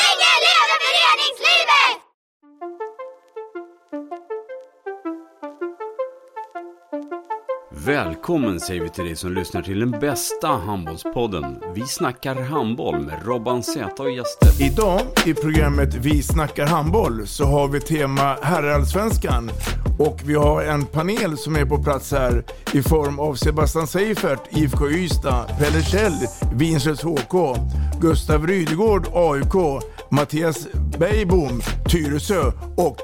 Länge leve föreningslivet! Välkommen säger vi till dig som lyssnar till den bästa handbollspodden. Vi snackar handboll med Robban Z och gäster. Idag i programmet Vi snackar handboll så har vi tema herrallsvenskan och vi har en panel som är på plats här i form av Sebastian Seifert, IFK Ystad, Pelle Kjell, Vinslövs HK, Gustav Rydegård, AIK, Mattias Beijbom, Tyresö och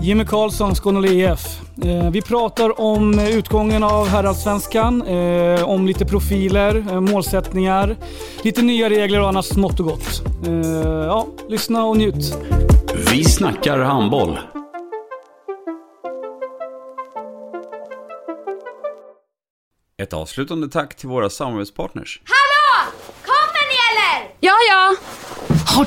Jimmy Karlsson, Skåne IF. Eh, Vi pratar om eh, utgången av herrallsvenskan, eh, om lite profiler, eh, målsättningar, lite nya regler och annat smått och gott. Eh, Ja, lyssna och njut. Vi snackar handboll. Ett avslutande tack till våra samarbetspartners. Hallå! Kommer ni eller? Ja, ja. Har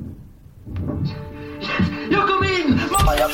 Jag kom in! Mamma, jag